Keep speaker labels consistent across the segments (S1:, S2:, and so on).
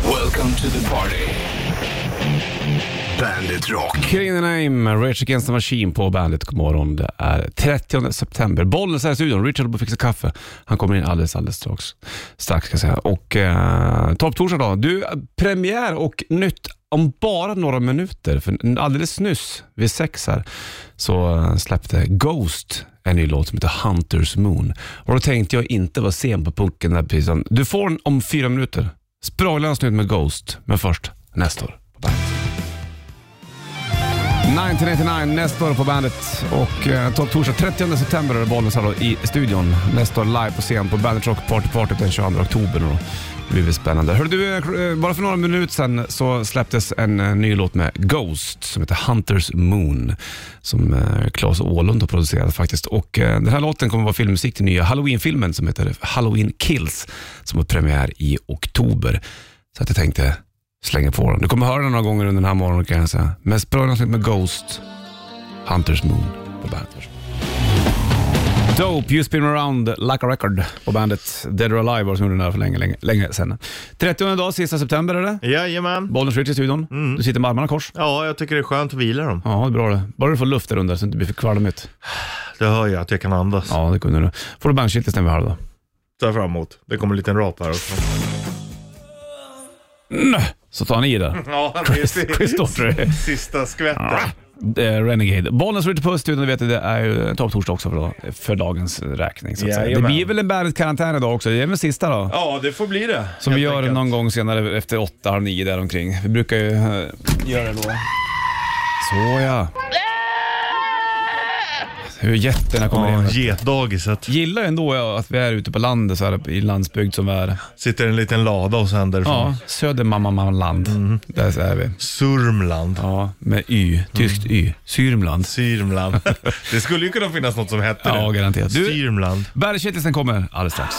S1: Welcome to the party. Bandit Rock.
S2: Killing the name, Rage Against the Machine på bandet. God morgon. Det är 30 september. Bollnäs är i studion. Richard på fixa kaffe. Han kommer in alldeles, alldeles strax. Strax ska jag säga. Och eh, Topptorsdag då. Du, premiär och nytt om bara några minuter. För alldeles nyss, vid sex här, så eh, släppte Ghost en ny låt som heter Hunters Moon. Och då tänkte jag inte vara sen på pucken där precis. Du får den om fyra minuter. Spralans nytt med Ghost, men först nästa år på bandet. 1999 nästa år på bandet och eh, Topp Torsdag 30 september är det Bollnäs här då i studion. Nästa år live på scen på Bandet Rock Party Party den 22 oktober. Då. Det blir väl spännande. Hörru du, eh, bara för några minuter sedan så släpptes en eh, ny låt med Ghost som heter Hunters Moon som eh, Claes Åhlund har producerat faktiskt. Och eh, den här låten kommer vara filmmusik till nya Halloween-filmen som heter Halloween Kills som har premiär i oktober. Så att jag tänkte slänger på den. Du kommer höra den några gånger under den här morgonen kan jag säga. Men spela något med Ghost, Hunters Moon på bandet. Varsågod. Dope, You Spin Me Around Like A Record på bandet Dead or Alive var som gjorde den där för länge, länge, länge sedan. 30 dag, sista september är det.
S3: Jajamän.
S2: Bollens Rich i studion. Du sitter med armarna i kors.
S3: Ja, jag tycker det är skönt att vila dem.
S2: Ja, det är bra det. Bara du får luft där under så det inte blir för kvalmigt.
S3: Det hör jag att jag kan andas.
S2: Ja, det kunde du. får du bandshittis när vi har det då.
S3: Ta fram emot. Det kommer en liten rap här också.
S2: Så tar han i där.
S3: Ja, det är
S2: Christopher.
S3: sista skvätten.
S2: Eh, Renegade. Bollnäs Ritty Puss, du vet det är ju topptorsdag också för, då, för dagens räkning. Så att säga. Det
S3: Jajamän.
S2: blir väl en Bandet-karantän idag också. Det är väl sista då.
S3: Ja, det får bli det.
S2: Som vi
S3: helt
S2: gör
S3: enkelt.
S2: någon gång senare efter åtta, halv nio däromkring. Vi brukar ju eh, göra det då. Så ja. Hur getterna kommer
S3: Ja,
S2: in.
S3: getdagiset.
S2: Gillar ju ändå jag att vi är ute på landet, så här, i landsbygd som vi är.
S3: Sitter i en liten lada och sen därifrån.
S2: Ja, Södermammaland.
S3: Mhm.
S2: Där så är vi.
S3: Surmland.
S2: Ja, med Y. Tyskt Y. Syrmland.
S3: Syrmland. det skulle ju kunna finnas något som hette
S2: Ja,
S3: det.
S2: garanterat. Du-
S3: Syrmland.
S2: Bergkittelsen kommer alldeles strax.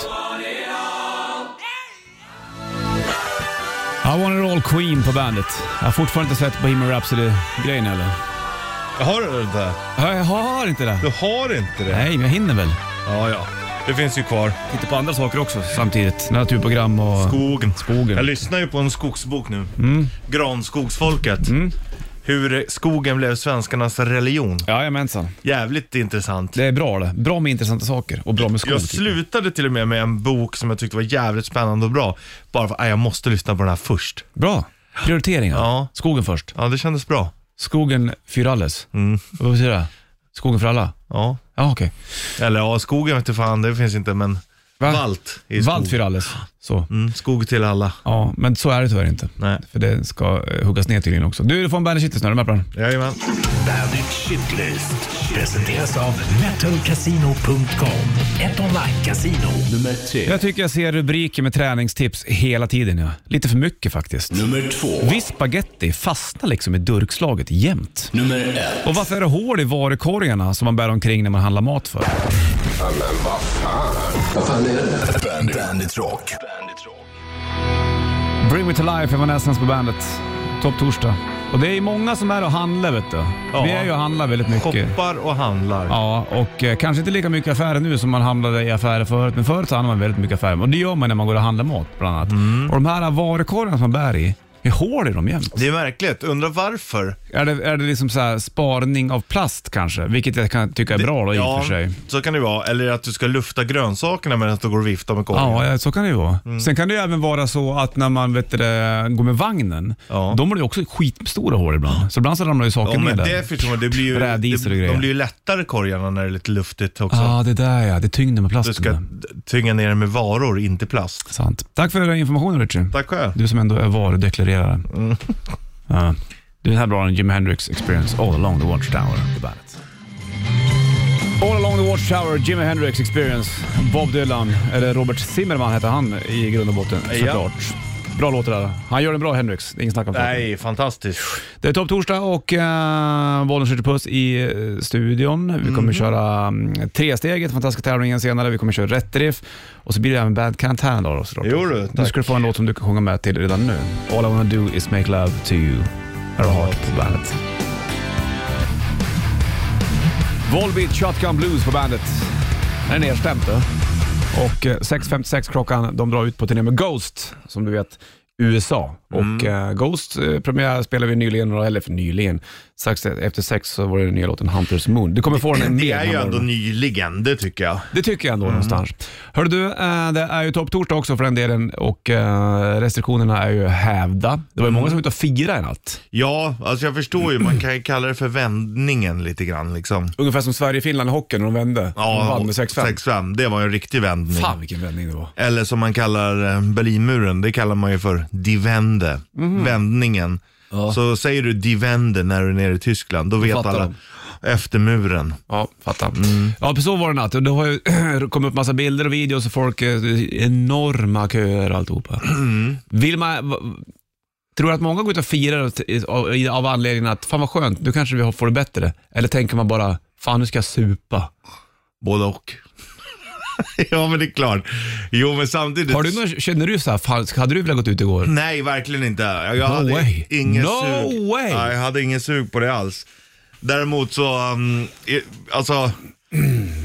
S2: I want it all Queen på bandet. Jag har fortfarande inte sett Bohemian Rhapsody-grejen heller.
S3: Har du det inte?
S2: Ja, Jag har inte det.
S3: Du har inte det?
S2: Nej, men jag hinner väl.
S3: Ja, ja. Det finns ju kvar.
S2: Titta på andra saker också samtidigt. Naturprogram och...
S3: Skogen.
S2: Skogen. Mm.
S3: Jag lyssnar ju på en skogsbok nu. Granskogsfolket. Hur skogen blev svenskarnas religion.
S2: Jajamensan.
S3: Jävligt intressant.
S2: Det är bra det. Bra med intressanta saker och bra med skog.
S3: Jag
S2: tycker
S3: slutade till och med med en bok som jag tyckte var jävligt spännande och bra. Bara för att jag måste lyssna på den här först.
S2: jag. Bra. Prioriteringar.
S3: Ja.
S2: Skogen först.
S3: Ja, det kändes bra.
S2: Skogen för alles.
S3: Mm.
S2: Vad betyder det? Skogen för alla?
S3: Ja.
S2: Ja, okej.
S3: Eller ja, skogen vet du fan, det finns inte men
S2: Va?
S3: valt i skog.
S2: Vald för alles. Så.
S3: Mm, skog till alla.
S2: Ja, men så är det tyvärr inte.
S3: Nej.
S2: För det ska eh, huggas ner tydligen också. Du, du får en bandage shit snart. Är du med på den?
S3: Jajamän.
S1: Bandit Shitlist. Presenteras av metalcasino.com. Ett online-casino. Nummer tre.
S2: Jag tycker jag ser rubriker med träningstips hela tiden. Ja. Lite för mycket faktiskt.
S1: Nummer två.
S2: Viss spaghetti fastnar liksom i durkslaget jämt.
S1: Nummer ett.
S2: Och varför är det hål i varukorgarna som man bär omkring när man handlar mat för?
S1: Bandit, Bandit Rock. Bandit Rock.
S2: Bring me to life, Evanescence på bandet. Topp torsdag. Och det är ju många som är och handlar vet du. Vi är ju och handlar väldigt mycket.
S3: Shoppar och handlar.
S2: Ja, och eh, kanske inte lika mycket affärer nu som man handlade i affärer förut. Men förut så handlade man väldigt mycket affärer. Och det gör man när man går och handlar mat bland annat.
S3: Mm.
S2: Och de här varukorgarna som man bär i, det är hål i dem jämt.
S3: Det är märkligt, undrar varför?
S2: Är det, är det liksom så här sparning av plast kanske? Vilket jag kan tycka är bra då i och
S3: ja,
S2: för sig.
S3: så kan det vara. Eller att du ska lufta grönsakerna medan du går och viftar med korgen.
S2: Ja, ja, så kan det ju vara.
S3: Mm.
S2: Sen kan det ju även vara så att när man vet du det, går med vagnen,
S3: Ja.
S2: de har ju också skitstora hår ibland. Så ibland så ramlar ju saker
S3: Ja,
S2: ner
S3: men
S2: där.
S3: det förstår man. Det blir ju,
S2: Brädisor och
S3: det,
S2: grejer.
S3: de blir ju lättare korgarna när det är lite luftigt också.
S2: Ja, Mm. ah, det där ja. Det är tyngden med
S3: Du
S2: plasten.
S3: ska d- tynga ner den med varor, inte plast.
S2: Sant. Tack för informationen Richie.
S3: Tack själv.
S2: Du som ändå är varudeklarerare.
S3: Mm.
S2: Ja. Du, den här bra den Jimi Hendrix Experience All Along the Watchtower på bandet. All Along the Watchtower, Jimi Hendrix Experience, Bob Dylan, eller Robert Zimmerman heter han i grund och botten
S3: Ja.
S2: såklart. Bra låt det där. Han gör den bra Hendrix, det är ingen snack om saken.
S3: Nej, fantastiskt.
S2: Det är topp torsdag och uh, Bollnäs skjuter puss i eh, studion. Vi kommer köra mm, tresteget, fantastiska tävlingen senare. Vi kommer köra rätt riff och så blir det även Bad Karantän idag då såklart.
S3: Jo du,
S2: Nu
S3: tack.
S2: ska du få en låt som du kan sjunga med till redan nu. All I wanna do is make love to you. Här har Heart på bandet. Volbeat Shotgun Blues på bandet. Den är nedstämt du. Och eh, 6.56 klockan, de drar ut på turné med Ghost, som du vet. USA.
S3: Mm.
S2: Och eh, Ghost eh, premiär spelade vi nyligen, och- eller för nyligen, strax efter sex så var det den nya låten Hunters Moon. Du kommer få den
S3: Det
S2: med
S3: är ju
S2: här
S3: ändå
S2: morgonen.
S3: nyligen, det tycker jag.
S2: Det tycker jag ändå någonstans. Hör du, eh, det är ju topptorsdag också för den delen och eh, restriktionerna är ju hävda. Det var ju många som var ute och firade i natt.
S3: Ja, alltså jag förstår ju. Man kan ju kalla det för vändningen lite grann liksom.
S2: Ungefär som Sverige-Finland i hockeyn när de vände. de vann Mm, med 6-5.
S3: 6-5. Det var ju en riktig vändning.
S2: Fan vilken vändning det var.
S3: Eller som man kallar eh, Berlinmuren, det kallar man ju för Die Wende,
S2: Mhm.
S3: vändningen. Så säger du Die Wende när du är nere i Tyskland, då vet
S2: fattar
S3: alla. Efter muren.
S2: Ja, fattar. Ja, så var det natt. Och Det har ju kommit upp massa bilder och videos och folk, eh, enorma köer och alltihopa. Vill man, va- tror du att många går ut och firar t- av, i- av anledningen att, fan vad skönt, nu kanske vi får det bättre? Eller tänker man bara, fan nu ska jag supa?
S3: Både och. ja men det är klart. Jo men samtidigt.
S2: Har du någon, känner du så här, fan, hade du velat gått ut igår?
S3: Nej, verkligen inte. Jag
S2: No
S3: hade
S2: way.
S3: ingen
S2: No
S3: sug.
S2: way.
S3: Nej, jag hade ingen sug på det alls. Däremot så, um, i- alltså.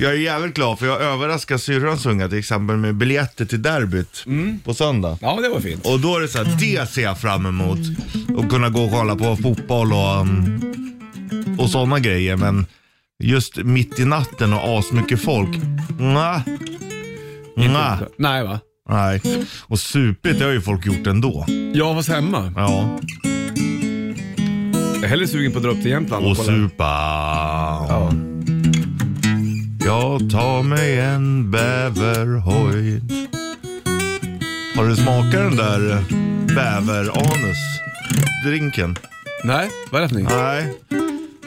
S3: Jag är jävligt glad för jag överraskar syrrans unga till exempel med biljetter till derbyt
S2: Mm.
S3: på söndag.
S2: Ja, det var fint.
S3: Och då är det så här, det ser jag fram emot. Att kunna gå och kolla på fotboll och, um, och sådana grejer. Men just mitt i natten och asmycket folk. Nja. Nja.
S2: Nej va?
S3: Nej. Och supit det har ju folk gjort ändå.
S2: Jag var hemma.
S3: Ja.
S2: Jag är hellre sugen på att dra upp till Jämtland
S3: Och supa.
S2: Ja.
S3: Jag tar mig en bäverhoj. Har du smakat den där bäveranus? Drinken?
S2: Nej, vad är det för någonting?
S3: Nej.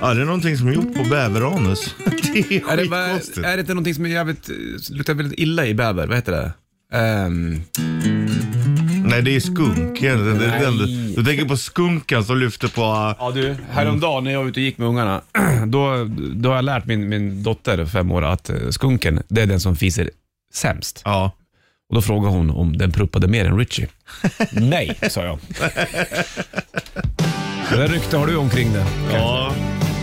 S3: Ja, det är någonting som är gjort på bäveranus. Det är
S2: Är det, bara,
S3: skitkonstigt.
S2: är det inte någonting som är jävligt, eh, luktar väldigt illa i bäver? Vad heter det? Ehm,
S3: Nej, det är skunk. Det är den du,
S2: Nej.
S3: du tänker på skunken som lyfter på... ah,
S2: Ja du, häromdagen när jag var ute och gick med ungarna, då, då har jag lärt min, min dotter, fem år, att eh, skunken, det är den som fiser sämst.
S3: Ja.
S2: Och då frågade hon om den pruppade mer än Richie. Nej, sa jag. Det rykte har du omkring det.
S3: Ja.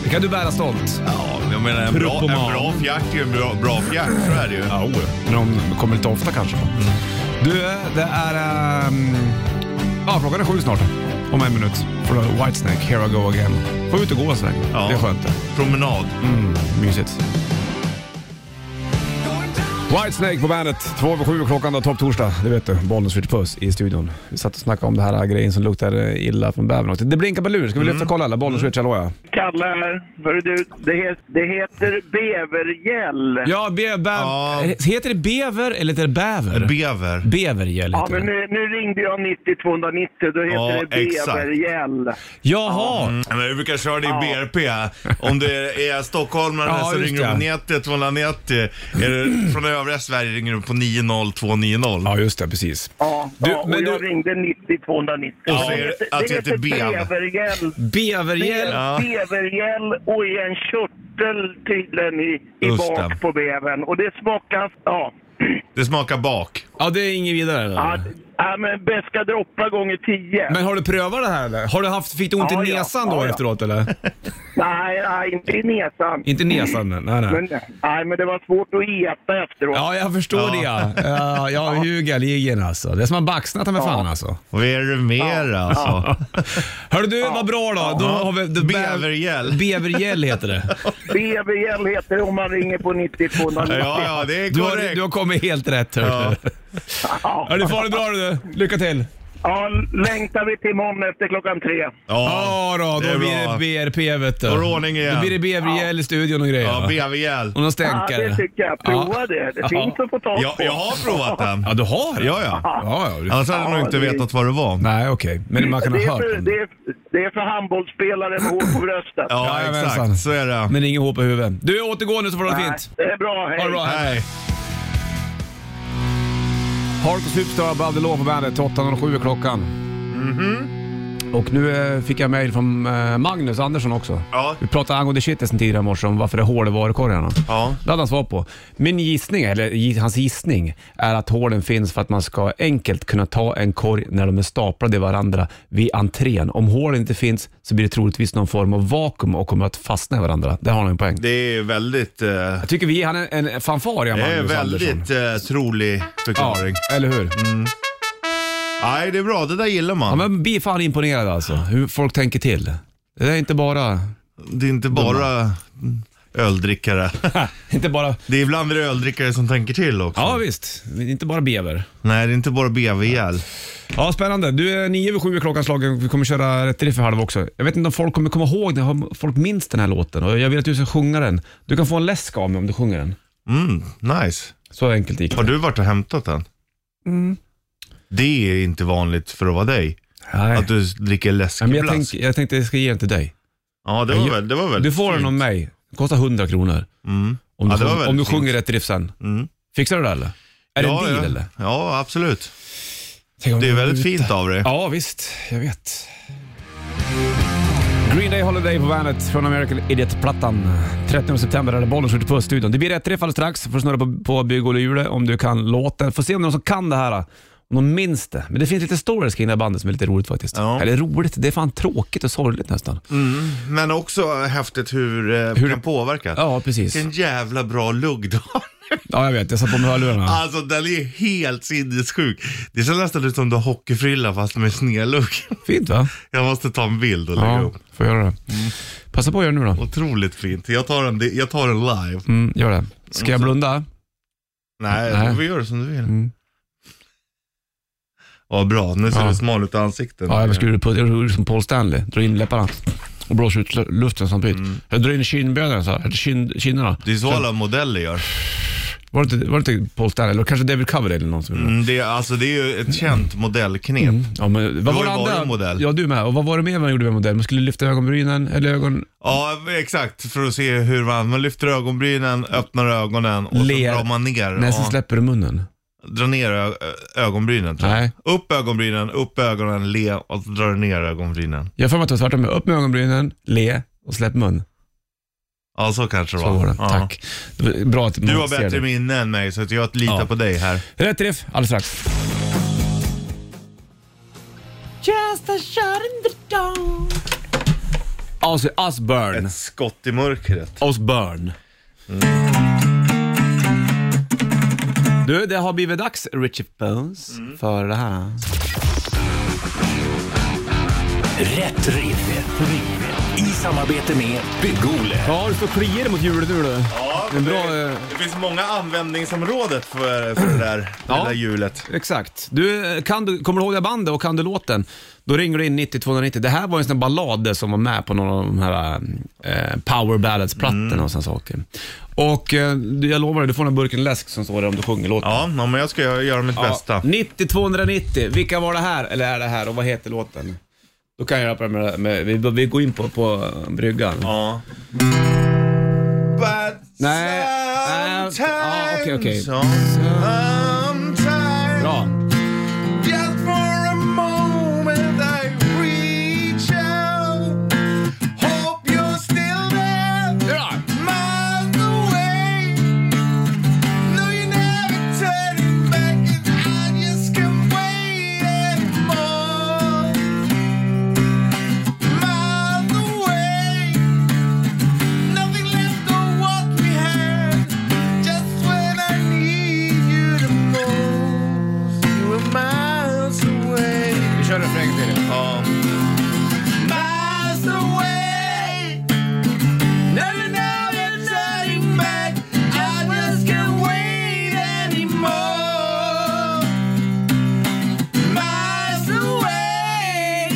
S2: Det kan du bära stolt.
S3: Ja, jag menar en bra, en
S2: Propoman.
S3: bra fjärt är ju en bra, bra fjärt, så är det ju.
S2: Ja, men de kommer lite ofta kanske. Du, det är... ehm, ja, klockan är sju snart. Om en minut. För då är det Whitesnake, Here I Go Again. Få ut och gå en sväng.
S3: Ja.
S2: Det är skönt det.
S3: Promenad.
S2: Mm, mysigt. Whitesnake på bandet. Två över sju klockan då, topp torsdag. Det vet du. Bollnäs Ritch Puss i studion. Vi satt och snackade om det här grejen som luktar eh, illa från bävern. också. Det blinkar på lur. Ska vi lyfta och kolla eller? Bollnäs Ritch, hallå ja.
S4: Kalle här. Hörru du, det, het, det heter bevergäll.
S2: Ja, be, bäv-
S3: Ja.
S2: Heter det bever eller heter det bäver?
S3: Bever.
S2: Bevergäll
S4: Ja,
S2: heter
S4: men
S2: det.
S4: nu, nu ringde jag 90 290, då heter
S3: Ja,
S4: det
S3: exakt.
S4: bevergäll.
S2: Jaha!
S3: Ja, Men vi brukar köra det i BRP. Om du är stockholmare
S2: Ja,
S3: så
S2: just
S3: ringer du på
S2: det.
S3: 90 290. Är du från övriga Sverige ringer du på 90290.
S2: Ja, just det. Precis.
S4: Ja,
S2: Du,
S4: ja, och
S2: men
S4: jag
S2: du-
S4: ringde 90 290.
S3: Och så är det- att det heter bev.
S4: bevergäll. Det är
S2: Bevergäll.
S3: Ja.
S4: bevergäll och i en körtel tydligen i, i
S3: Just
S4: bak
S3: det.
S4: på bevern. Och det smakar... Ja.
S3: Det smakar bak.
S2: Ja, det är inget vidare eller?
S4: Ja, ja, men beska droppar gånger 10.
S2: Men har du prövat det här eller? Har du haft, fick du ont
S4: Ja,
S2: i
S4: ja.
S2: näsan då
S4: Ja, ja.
S2: efteråt eller?
S4: Nej, nej, inte i näsan.
S2: Inte näsan, nej nej.
S4: Men, nej, men det var svårt att äta efteråt.
S2: Ja, jag förstår
S3: Ja.
S2: det ja. ja. Jag ljuger ligen alltså. Det är som man baxnat med fan alltså.
S3: Vad är det mer alltså?
S2: Hörru du, vad bra då. då har vi, det-
S3: Bevergäll.
S2: Bevergäll heter det.
S4: BVL heter det om man ringer på 90 290.
S3: Ja, ja, det är
S2: Du har,
S3: korrekt.
S2: du har kommit helt rätt hörru. Ja. du får det bra du. Lycka till.
S4: Ja, längtar vi till imorgon efter klockan tre.
S3: Ja,
S2: Ja då,
S3: det är
S2: då
S3: bra.
S2: blir det BRP vet du.
S3: Då är det ordning igen.
S2: Då blir det Bevergäll i studion och
S3: ja
S2: grejer.
S3: bevergäll.
S2: Och någon
S4: Ja,
S2: stänkare.
S4: det tycker jag. Prova det. Det finns att få tag
S3: Jag,
S4: på.
S3: jag har provat den.
S2: Ja, du har det?
S3: Ja, ja.
S2: Ja, ja.
S3: Annars hade jag nog inte
S4: det-
S3: vetat vad det var.
S2: Alltså, Nej, okej. Men man kan ha
S4: Det är,
S2: hört
S4: för,
S2: om
S4: det,
S2: det.
S4: är, det är för handbollsspelare med hår på bröstet.
S3: Ja,
S2: Jajamensan.
S3: exakt. Så är det.
S2: Men inget hår på huvudet. Du, återgå nu så får du ha det
S4: Nej,
S2: fint.
S4: det är bra. Hej.
S2: Ha det bra. Hej.
S3: Nej.
S2: Hardcore Superstar, Above the Law på bandet. 8.07 är klockan.
S4: Mhm.
S2: Och nu eh, fick jag mejl från eh, Magnus Andersson också.
S3: Ja.
S2: Vi pratade angående shitlisten tidigare i morse om varför det är hål i varukorgarna.
S3: Ja.
S2: Det hade han svar på. Min gissning, eller gi- hans gissning, är att hålen finns för att man ska enkelt kunna ta en korg när de är staplade i varandra vid entrén. Om hålen inte finns så blir det troligtvis någon form av vakuum och kommer att fastna i varandra. Där har han en poäng.
S3: Det är väldigt... eh,
S2: Jag tycker vi ger han en, en fanfar, ja,
S3: det är
S2: Magnus Andersson.
S3: väldigt eh, trolig
S2: Ja,
S3: förklaring.
S2: eller hur?
S3: Nej, det är bra. Det där
S2: Ja,
S3: gillar man.
S2: men blir fan imponerad alltså, hur folk tänker till. Det är inte bara,
S3: Det är inte bara öldrickare.
S2: inte bara,
S3: Det är ibland är det öldrickare som tänker till också.
S2: ja visst, inte bara bever.
S3: Nej, det är inte bara BV ihjäl.
S2: Ja, spännande. Du är nio över sju i klockan slagen. Vi kommer köra rätt riff i halv också. Jag vet inte om folk kommer komma ihåg den, om folk minns den här låten och jag vill att du ska sjunga den. Du kan få en läsk av mig om du sjunger den.
S3: Mm, nice.
S2: Så enkelt gick det.
S3: Har du varit och hämtat den? Det är inte vanligt för att vara dig.
S2: Nej.
S3: Att du dricker läsk
S2: Ja, men jag,
S3: ibland.
S2: tänk, jag tänkte jag ska ge den till dig.
S3: Ja, det var väl, det var väl
S2: Du får den av mig. Det kostar 100 kronor.
S3: Mm.
S2: Om du,
S3: Ja, det
S2: sjung,
S3: var väldigt
S2: om du
S3: fint.
S2: sjunger rätt riff sen.
S3: Mm.
S2: Fixar du det eller? Är
S3: ja,
S2: det en deal
S3: ja.
S2: eller?
S3: Ja, absolut.
S2: Tänk om
S3: Det är
S2: jag-
S3: väldigt fint av dig.
S2: Ja, visst. Jag vet. Green Day Holiday på bandet från American Idiot-plattan. 30 september är det bollen skjuter på studion. Det blir rätt träff alldeles strax. Får snurra på, på byggoljehjulet om du kan låten. Får se om det är någon som kan det här. Om de minns det. Men det finns lite stories kring det här bandet som är lite roligt faktiskt.
S3: Ja. Mm.
S2: Eller roligt, det är fan tråkigt och sorgligt nästan.
S3: Men också häftigt hur, eh,
S2: Hur-
S3: kan påverka.
S2: Ja, precis.
S3: Vilken jävla bra lugg du har.
S2: Ja, jag vet. Jag satt på mig hörlurarna.
S3: Alltså den är helt sinnessjuk. Det ser nästan ut som du har hockeyfrilla fast med snedlugg.
S2: Fint va?
S3: Jag måste ta en bild och lägga
S2: Ja,
S3: upp.
S2: får göra det.
S3: Mm.
S2: Passa på att göra det nu då.
S3: Otroligt fint. Jag tar den, jag tar den live.
S2: Mm, gör det. Ska jag blunda?
S3: Nej,
S2: Nej.
S3: vi gör det som du vill.
S2: Mm.
S3: Ja, bra. Nu ser
S2: Ja.
S3: du smal ut i ansiktet.
S2: Ja, jag skulle på, jag gjorde som Paul Stanley. Dra in läpparna och blåsa ut luften samtidigt.
S3: Mm.
S2: Jag drar in kindbenen så här, eller kind, kinderna.
S3: Det är så alla modeller gör.
S2: Var det, inte, var det inte Paul Stanley, eller kanske David Coverdale eller någon som gjorde det?
S3: Mm, det, är- alltså, det är ju ett känt modellknep.
S2: Ja, men vad
S3: Mm.
S2: var
S3: har ju
S2: det
S3: varit
S2: andra?
S3: en modell.
S2: Ja, du med. Och vad var det mer man gjorde med modell? Man skulle lyfta ögonbrynen, eller ögon...
S3: Ja, exakt. För att se hur man, man lyfter ögonbrynen, öppnar ögonen och
S2: Ler.
S3: så drar man ner.
S2: Nej, sen
S3: Ja.
S2: släpper du munnen.
S3: Dra ner ö- ö- ögonbrynen. tror jag.
S2: Nej.
S3: Upp ögonbrynen, upp ögonen, le och så drar du ner ögonbrynen.
S2: Jag har för mig att det var tvärtom. Upp med ögonbrynen, le och släpp mun.
S3: Ja, så kanske det
S2: Så
S3: var.
S2: var det.
S3: Ja.
S2: Tack. Det var Bra att
S3: Du
S2: man
S3: har
S2: ser
S3: bättre
S2: det.
S3: minne än mig så att jag litar
S2: Ja.
S3: på dig här.
S2: Rätt träff alldeles strax. Just a shot in the dark. Alltså, Osbourne. Mm.
S3: Ett skott i mörkret.
S2: Osbourne. Du, det har blivit dags, Richie Bones,
S3: Mm.
S2: för det här.
S1: Rätt riff. Rätt riff. I samarbete med Bygg-Ole.
S2: Ja, du får klia dig mot hjulet nu du.
S3: Ja,
S2: En bra,
S3: det,
S2: eh,
S3: det finns många användningsområdet för, för det där,
S2: Ja.
S3: det där hjulet.
S2: Exakt. Du, eh, kan du, kommer du ihåg det här bandet och kan du låten? Då ringer du in 90 290. Det här var en sån här ballad som var med på någon av de här eh, power ballads-plattorna
S3: Mm.
S2: och såna saker. Och eh, du- jag lovar dig, du får den här burken läsk som står där om du sjunger låten.
S3: Ja, ja, men jag ska göra- göra mitt bästa.
S2: 90 290. Vilka var det här? Eller är det här? Och vad heter låten? Då kan jag göra på det med, med vi, vi går in på, på bryggan.
S3: Ja. But
S2: Nej, nej,
S3: sometimes,
S2: ja, okej, okej.
S3: sometimes,
S2: Bra.
S3: just for a moment I reach out. Hope you're still there.
S2: Bra.
S3: miles away. No, you're never turning back, and I just can't wait anymore. Miles away.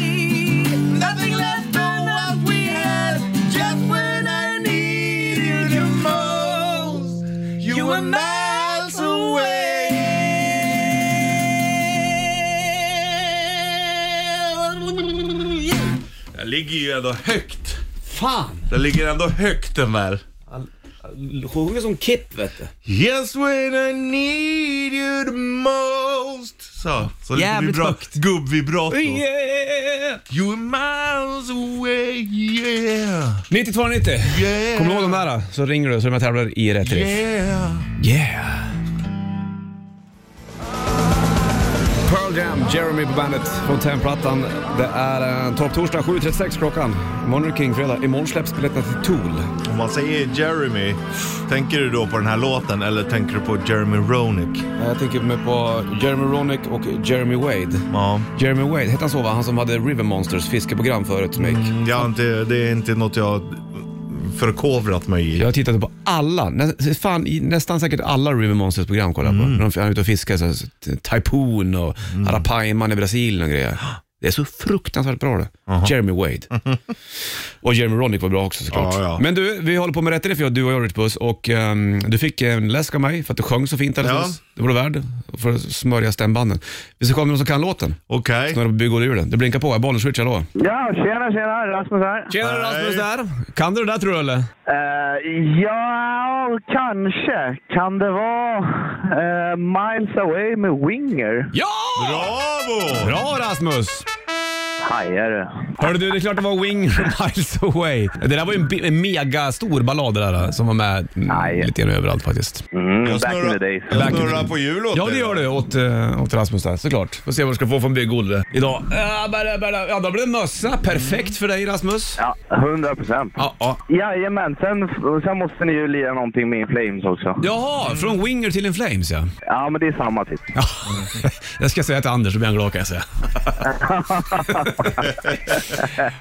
S3: Nothing left of what we had. Just when I need you the most, you
S2: Vi kör refrängen till det.
S3: were miles away. Miles away. Never know you're turning back. I just can't wait anymore. Miles away. Nothing left but what we had. Just when I need you the most. You were miles away. Jag ligger ju ändå högt.
S2: Fan!
S3: Den ligger ändå högt den där.
S2: Sjunger som Kit vet du.
S3: Yes when I need you the most. Så, så lite
S2: Jävligt
S3: vibra-
S2: högt.
S3: Gubbvibrato.
S2: Yeah!
S3: You are miles away, yeah.
S2: 9290.
S3: Yeah.
S2: Kommer du ihåg de där? då? Så ringer du så är du med och tävlar i rätt riff.
S3: Yeah.
S2: Yeah! Pearl Pearl Jam, Jeremy på bandet från Templattan. Det är eh, Torp Torsdag 7.36 klockan. Imorgon är det King-fredag. Imorgon släpps biljetterna till Tool.
S3: Om man säger Jeremy, tänker du då på den här låten eller tänker du på Jeremy Ronick?
S2: Eh, Jag tänker mer på Jeremy Ronick och Jeremy Wade.
S3: Ja.
S2: Jeremy Wade, hette han så va? Han som hade River Monsters fiskeprogram förut som gick.
S3: Jag har inte, det är inte något jag har förkovrat mig i.
S2: Jag har tittat på alla, nä, fan, i- nästan säkert alla River Monsters program kollar jag
S3: Mm.
S2: på. När de han är ute och fiskar, så, här, så, Typhoon och Harapaiman i Brasilien och grejer. Det är så fruktansvärt bra det. Jeremy Wade. och Jeremy Ronick var bra också såklart.
S3: Ja, ja.
S2: Men du, vi håller på med Rätt eller Fel, du och jag Rich Puss. Och ehm, du fick en läsk av mig för att du sjöng så fint alldeles
S3: Ja.
S2: nyss. Det var du värd för att smörja stämbanden. Vi ska komma med någon som kan låten.
S3: Okej.
S2: Snurra på bygghjulen. Det blinkar på, bollen switchar då.
S4: Ja, tjena, tjena. Rasmus här.
S2: Tjena
S3: Rasmus
S2: där! Kan du det där tror du eller?
S4: Eh, ja, kanske. Kan det vara eh, Miles Away med Winger?
S2: Ja!
S3: Bravo!
S2: Bra Rasmus!
S4: Hajar du.
S2: Hörde du, det är klart det var Wing Miles Away. Det där var ju en, bi- en mega stor ballad det där som var med mm,
S4: Nej.
S2: lite grann överallt faktiskt.
S4: Mm,
S3: Jag
S4: back in the
S3: snurrar,
S4: days.
S3: jag
S2: Back in the
S3: snurrar
S2: days.
S3: på hjul åt
S2: Ja, det
S3: dig.
S2: gör du åt, eh, åt Rasmus där såklart. Får se vad du ska få från bygg-Olle idag. Ah, bara, bara. Ja, då blir det mössa. Perfekt för dig Rasmus.
S4: Ja, 100 procent.
S2: Ja, ja.
S4: Jajamän, sen, sen måste ni ju lira någonting med Inflames också.
S2: Jaha, från Winger till In Flames ja.
S4: Ja, men det är samma typ.
S2: ja. Jag ska säga till Anders så blir han glad kan jag säga.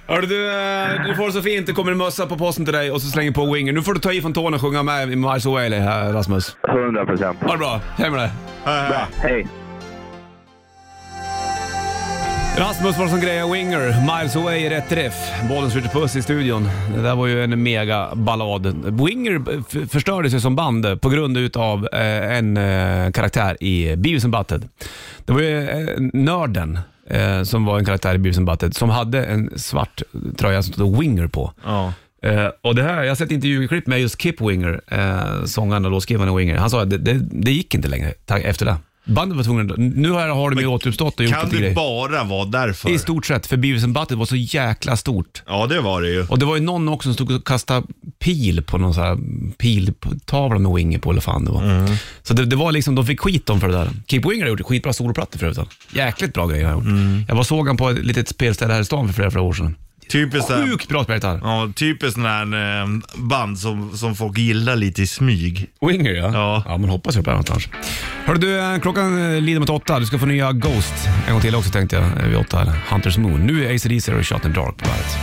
S2: Hörru du, eh, du får det så fint. Det kommer en mössa på posten till dig och så slänger på Winger. Nu får du ta i från tårna och sjunga med i Miles Away eh, Rasmus.
S4: 100 procent.
S2: Ha det bra, hej med dig.
S3: Äh,
S4: Hej.
S2: Rasmus var som grejer Winger, Miles Away i rätt träff. Bollen skjuter puss i studion. Det där var ju en mega ballad. Winger f- förstörde sig som band på grund utav eh, en eh, karaktär i Beavis and Butthead. Det var ju eh, nörden eh, som var en karaktär i Beavis and Butthead som hade en svart tröja som stod Winger på.
S3: Ja.
S2: Eh, och det här, jag har sett intervjuklipp med just Kip Winger, eh, sångaren och låtskrivaren i Winger. Han sa att det, det, det gick inte längre ta- efter det. Bandet var tvungna, nu har, har de ju återuppstått och gjort
S3: Kan
S2: lite
S3: det
S2: grejer.
S3: bara vara därför?
S2: I stort sett, för Beavis and Butthead var så jäkla stort.
S3: Ja, det var det ju.
S2: Och det var ju någon också som stod och kastade pil på någon sån här piltavla med Winger på, eller fan det var.
S3: Mm.
S2: Så det, det var liksom, de fick skit om för det där. Kip Winger har gjort skitbra soloplattor förut. han. Jäkligt bra grejer han har gjort.
S3: Mm.
S2: Jag var såg han på ett litet spelställe här i stan för flera, flera år sedan.
S3: Typiskt där-
S2: Sjukt bra spelgitarr.
S3: Ja, typiskt sån här eh, band som, som folk gillar lite i smyg.
S2: Winger ja.
S3: Ja.
S2: Ja, men hoppas jag på det här någonstans. Hörru du, eh, klockan eh, lider mot åtta. Du ska få nya Ghost en gång till också tänkte jag, eh, vid åtta. här. Hunters Moon. Nu är ACDC och Shot in the Dark på bandet.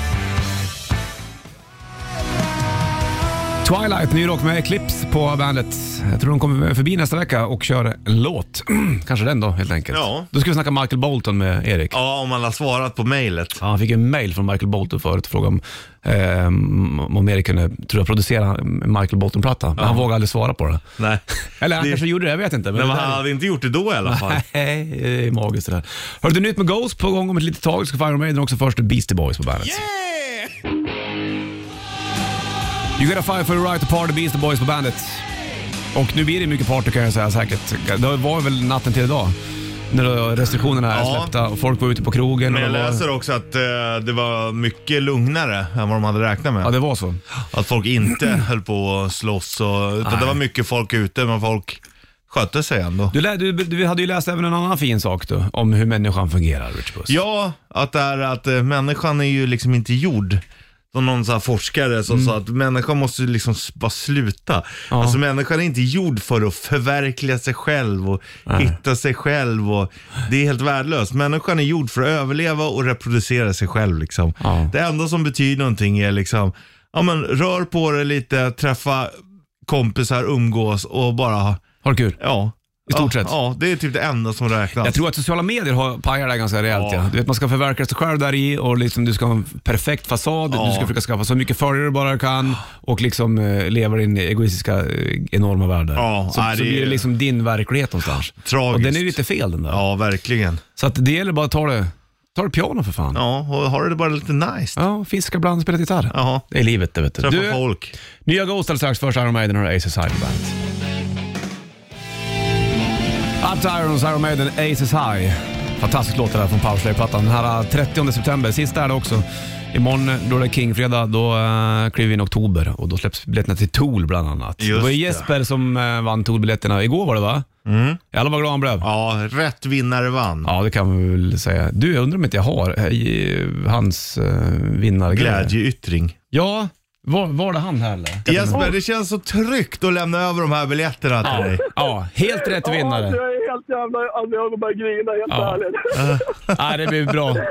S2: Twilight, ny rock med Eclipse på bandet. Jag tror de kommer förbi nästa vecka och kör en låt. Kanske den då helt enkelt.
S3: Ja.
S2: Då ska vi snacka Michael Bolton med Erik.
S3: Ja, om man har svarat på mejlet.
S2: Ja, han fick ju en mail från Michael Bolton förut och frågade om, eh, om Erik kunde tror jag, producera en Michael Bolton-platta. Men han vågade aldrig svara på det.
S3: Nej.
S2: Eller han
S3: Det-
S2: kanske gjorde det, jag vet inte. Men det
S3: Nej, men
S2: där-
S3: han hade inte gjort det då i alla fall.
S2: Nej, det är magiskt det där. Hörru du, nytt med Ghost på gång om ett litet tag. Vi ska få Iron Maiden också först, Beastie Boys på bandet. You gotta fight for your right to party, Beastie Boys på bandet. Och nu blir det mycket party kan jag säga säkert. Det var väl natten till idag. När då restriktionerna är
S3: Ja.
S2: släppta och folk var ute på krogen.
S3: Men jag
S2: och det var...
S3: läser också att eh, det var mycket lugnare än vad de hade räknat med.
S2: Ja, det var så.
S3: Att folk inte höll på att slåss. Och, utan det var mycket folk ute, men folk skötte sig ändå.
S2: Du, lä- du, du hade ju läst även en annan fin sak då, om hur människan fungerar, Rich Puss.
S3: Ja, att, det är, att eh, människan är ju liksom inte gjord. Som någon så här forskare som sa att människan måste ju liksom s- bara sluta.
S2: Mm. Ja.
S3: Alltså människan är inte gjord för att förverkliga sig själv och hitta sig själv. Och det är helt värdelöst. Människan är gjord för att överleva och reproducera sig själv. Liksom.
S2: Ja.
S3: Det enda som betyder någonting är liksom, ja men rör på dig lite, träffa kompisar, umgås och bara,
S2: Har du kul?
S3: ja.
S2: I stort
S3: ja,
S2: sett.
S3: Ja, det är typ det enda som räknas.
S2: Jag tror att sociala medier har pajar det här ganska rejält. Ja.
S3: Ja.
S2: Du vet, man ska förverkliga sig själv där i och liksom, du ska ha en perfekt fasad.
S3: Ja.
S2: Du ska försöka skaffa så mycket följare du bara kan och liksom, eh, leva din egoistiska eh, enorma värld. där.
S3: Ja,
S2: så,
S3: nej,
S2: så
S3: det
S2: blir det
S3: är-
S2: liksom din verklighet någonstans.
S3: Tragiskt.
S2: Och den är ju lite fel den där.
S3: Ja, verkligen.
S2: Så att det gäller bara att ta det, ta det piano för fan. Ja.
S3: Ja, och har du det bara lite nice.
S2: fiska ibland, spela gitarr.
S3: Jaha.
S2: Det är livet det vet du.
S3: Träffa
S2: du
S3: folk.
S2: Nya Ghost alldeles strax. Först Iron Maiden och Aces High på bandet. Up to Irons, Iron Maiden, Aces High. Fantastisk låt det där från Powerslayer-plattan. Den här eh, 30 september, sista är det också. Imorgon eh, då det är King-fredag, då eh, kliver vi in i oktober och då släpps biljetterna till Tool bland annat.
S3: Just
S2: det var
S3: det.
S2: ju Jesper som eh, vann Tool-biljetterna igår var det va? Mm. Jävlar vad glad han blev. Ja.
S3: Ja, rätt vinnare vann.
S2: det kan vi väl säga. Du, jag undrar om inte jag har eh, hans eh, vinnargrej.
S3: Glädjeyttring.
S2: Ja, var, var det han här eller?
S3: Jesper, det känns så tryggt att lämna över de här biljetterna till dig.
S2: Ja, helt rätt vinnare.
S5: Jag är helt jävla... Alltså jag börjar grina helt ärligt.
S2: Ja. Ja, det blir bra.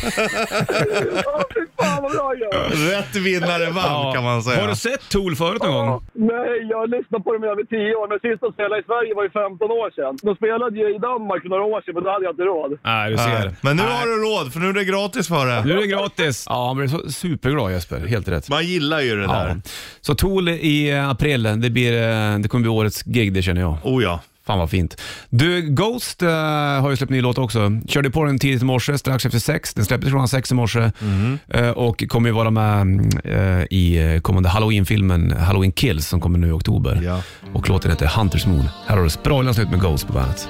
S5: Ja, fy fan vad bra jag är.
S3: Rätt vinnare vann
S2: Ja.
S3: kan man säga.
S2: Har du sett Tool förut någon gång?
S5: Nej, jag har lyssnat på dem i över 10 år, men sist de spelade i Sverige var ju 15 år sedan. De spelade ju i Danmark för några år sedan, men då hade jag inte råd.
S2: Nej, du
S3: Nej.
S2: ser.
S3: Men nu
S2: Nej.
S3: har du råd, för nu är det gratis för
S2: Nu
S3: det.
S2: är det gratis. Ja, han blev så superglad Jesper. Helt rätt.
S3: Man gillar ju det
S2: Ja.
S3: där.
S2: Så Tool i eh, april, det, blir, eh, det kommer bli årets gig det känner jag.
S3: Oh ja.
S2: Fan vad fint. Du, Ghost eh, har ju släppt ny låt också. Körde på den tidigt i morse, strax efter sex. Den släpptes klockan sex i morse Eh, och kommer ju vara med mm, eh, i eh, kommande halloween-filmen Halloween Kills som kommer nu i oktober.
S3: Ja.
S2: Och låten heter Hunters Moon. Här har du spralans ut med Ghost på bandet.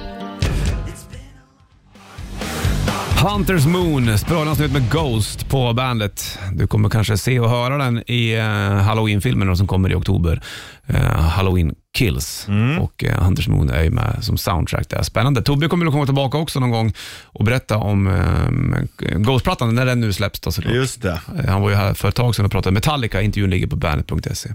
S2: Hunters Moon, sprallans ut med Ghost på bandet. Du kommer kanske se och höra den i eh, Halloween-filmen då som kommer i oktober. Eh, Halloween Kills. Och eh, Hunters Moon är ju med som soundtrack där. Spännande. Tobbe kommer att komma tillbaka också någon gång och berätta om eh, Ghost-plattan, när den nu släpps då såklart.
S3: Just det.
S2: Eh, Han var ju här för ett tag sedan och pratade Metallica. Intervjun ligger på bandet.se.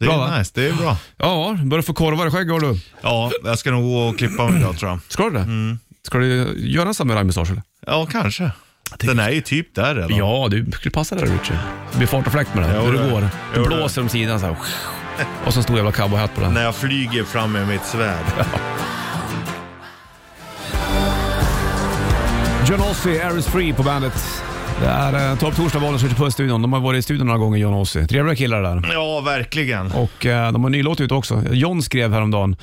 S3: Det är
S2: Bra, va?
S3: nice, det är bra.
S2: E. Ja, börjar få korvar i skägg har du.
S3: Ja, jag ska nog gå och klippa mig idag tror jag.
S2: Ska du det? Ska du göra en samurajmustasch eller?
S3: Ja, kanske. Den är ju typ där redan.
S2: Ja, du skulle passa där Richie. Det blir fart och fläkt med det.
S3: Jo,
S2: Hur
S3: det-
S2: det går. Du
S3: jo, det.
S2: blåser om sidan så här. Och så en stor jävla cowboyhatt på den.
S3: När jag flyger fram med mitt svärd.
S2: John Ossie, Air is free på bandet. Det är eh, Torp Torsdag, Bollnäs ute på studion. De har varit i studion några gånger, John Ossie. Trevliga killar det där.
S3: Ja, verkligen.
S2: Och eh, de har en ny låt ute också. John skrev häromdagen,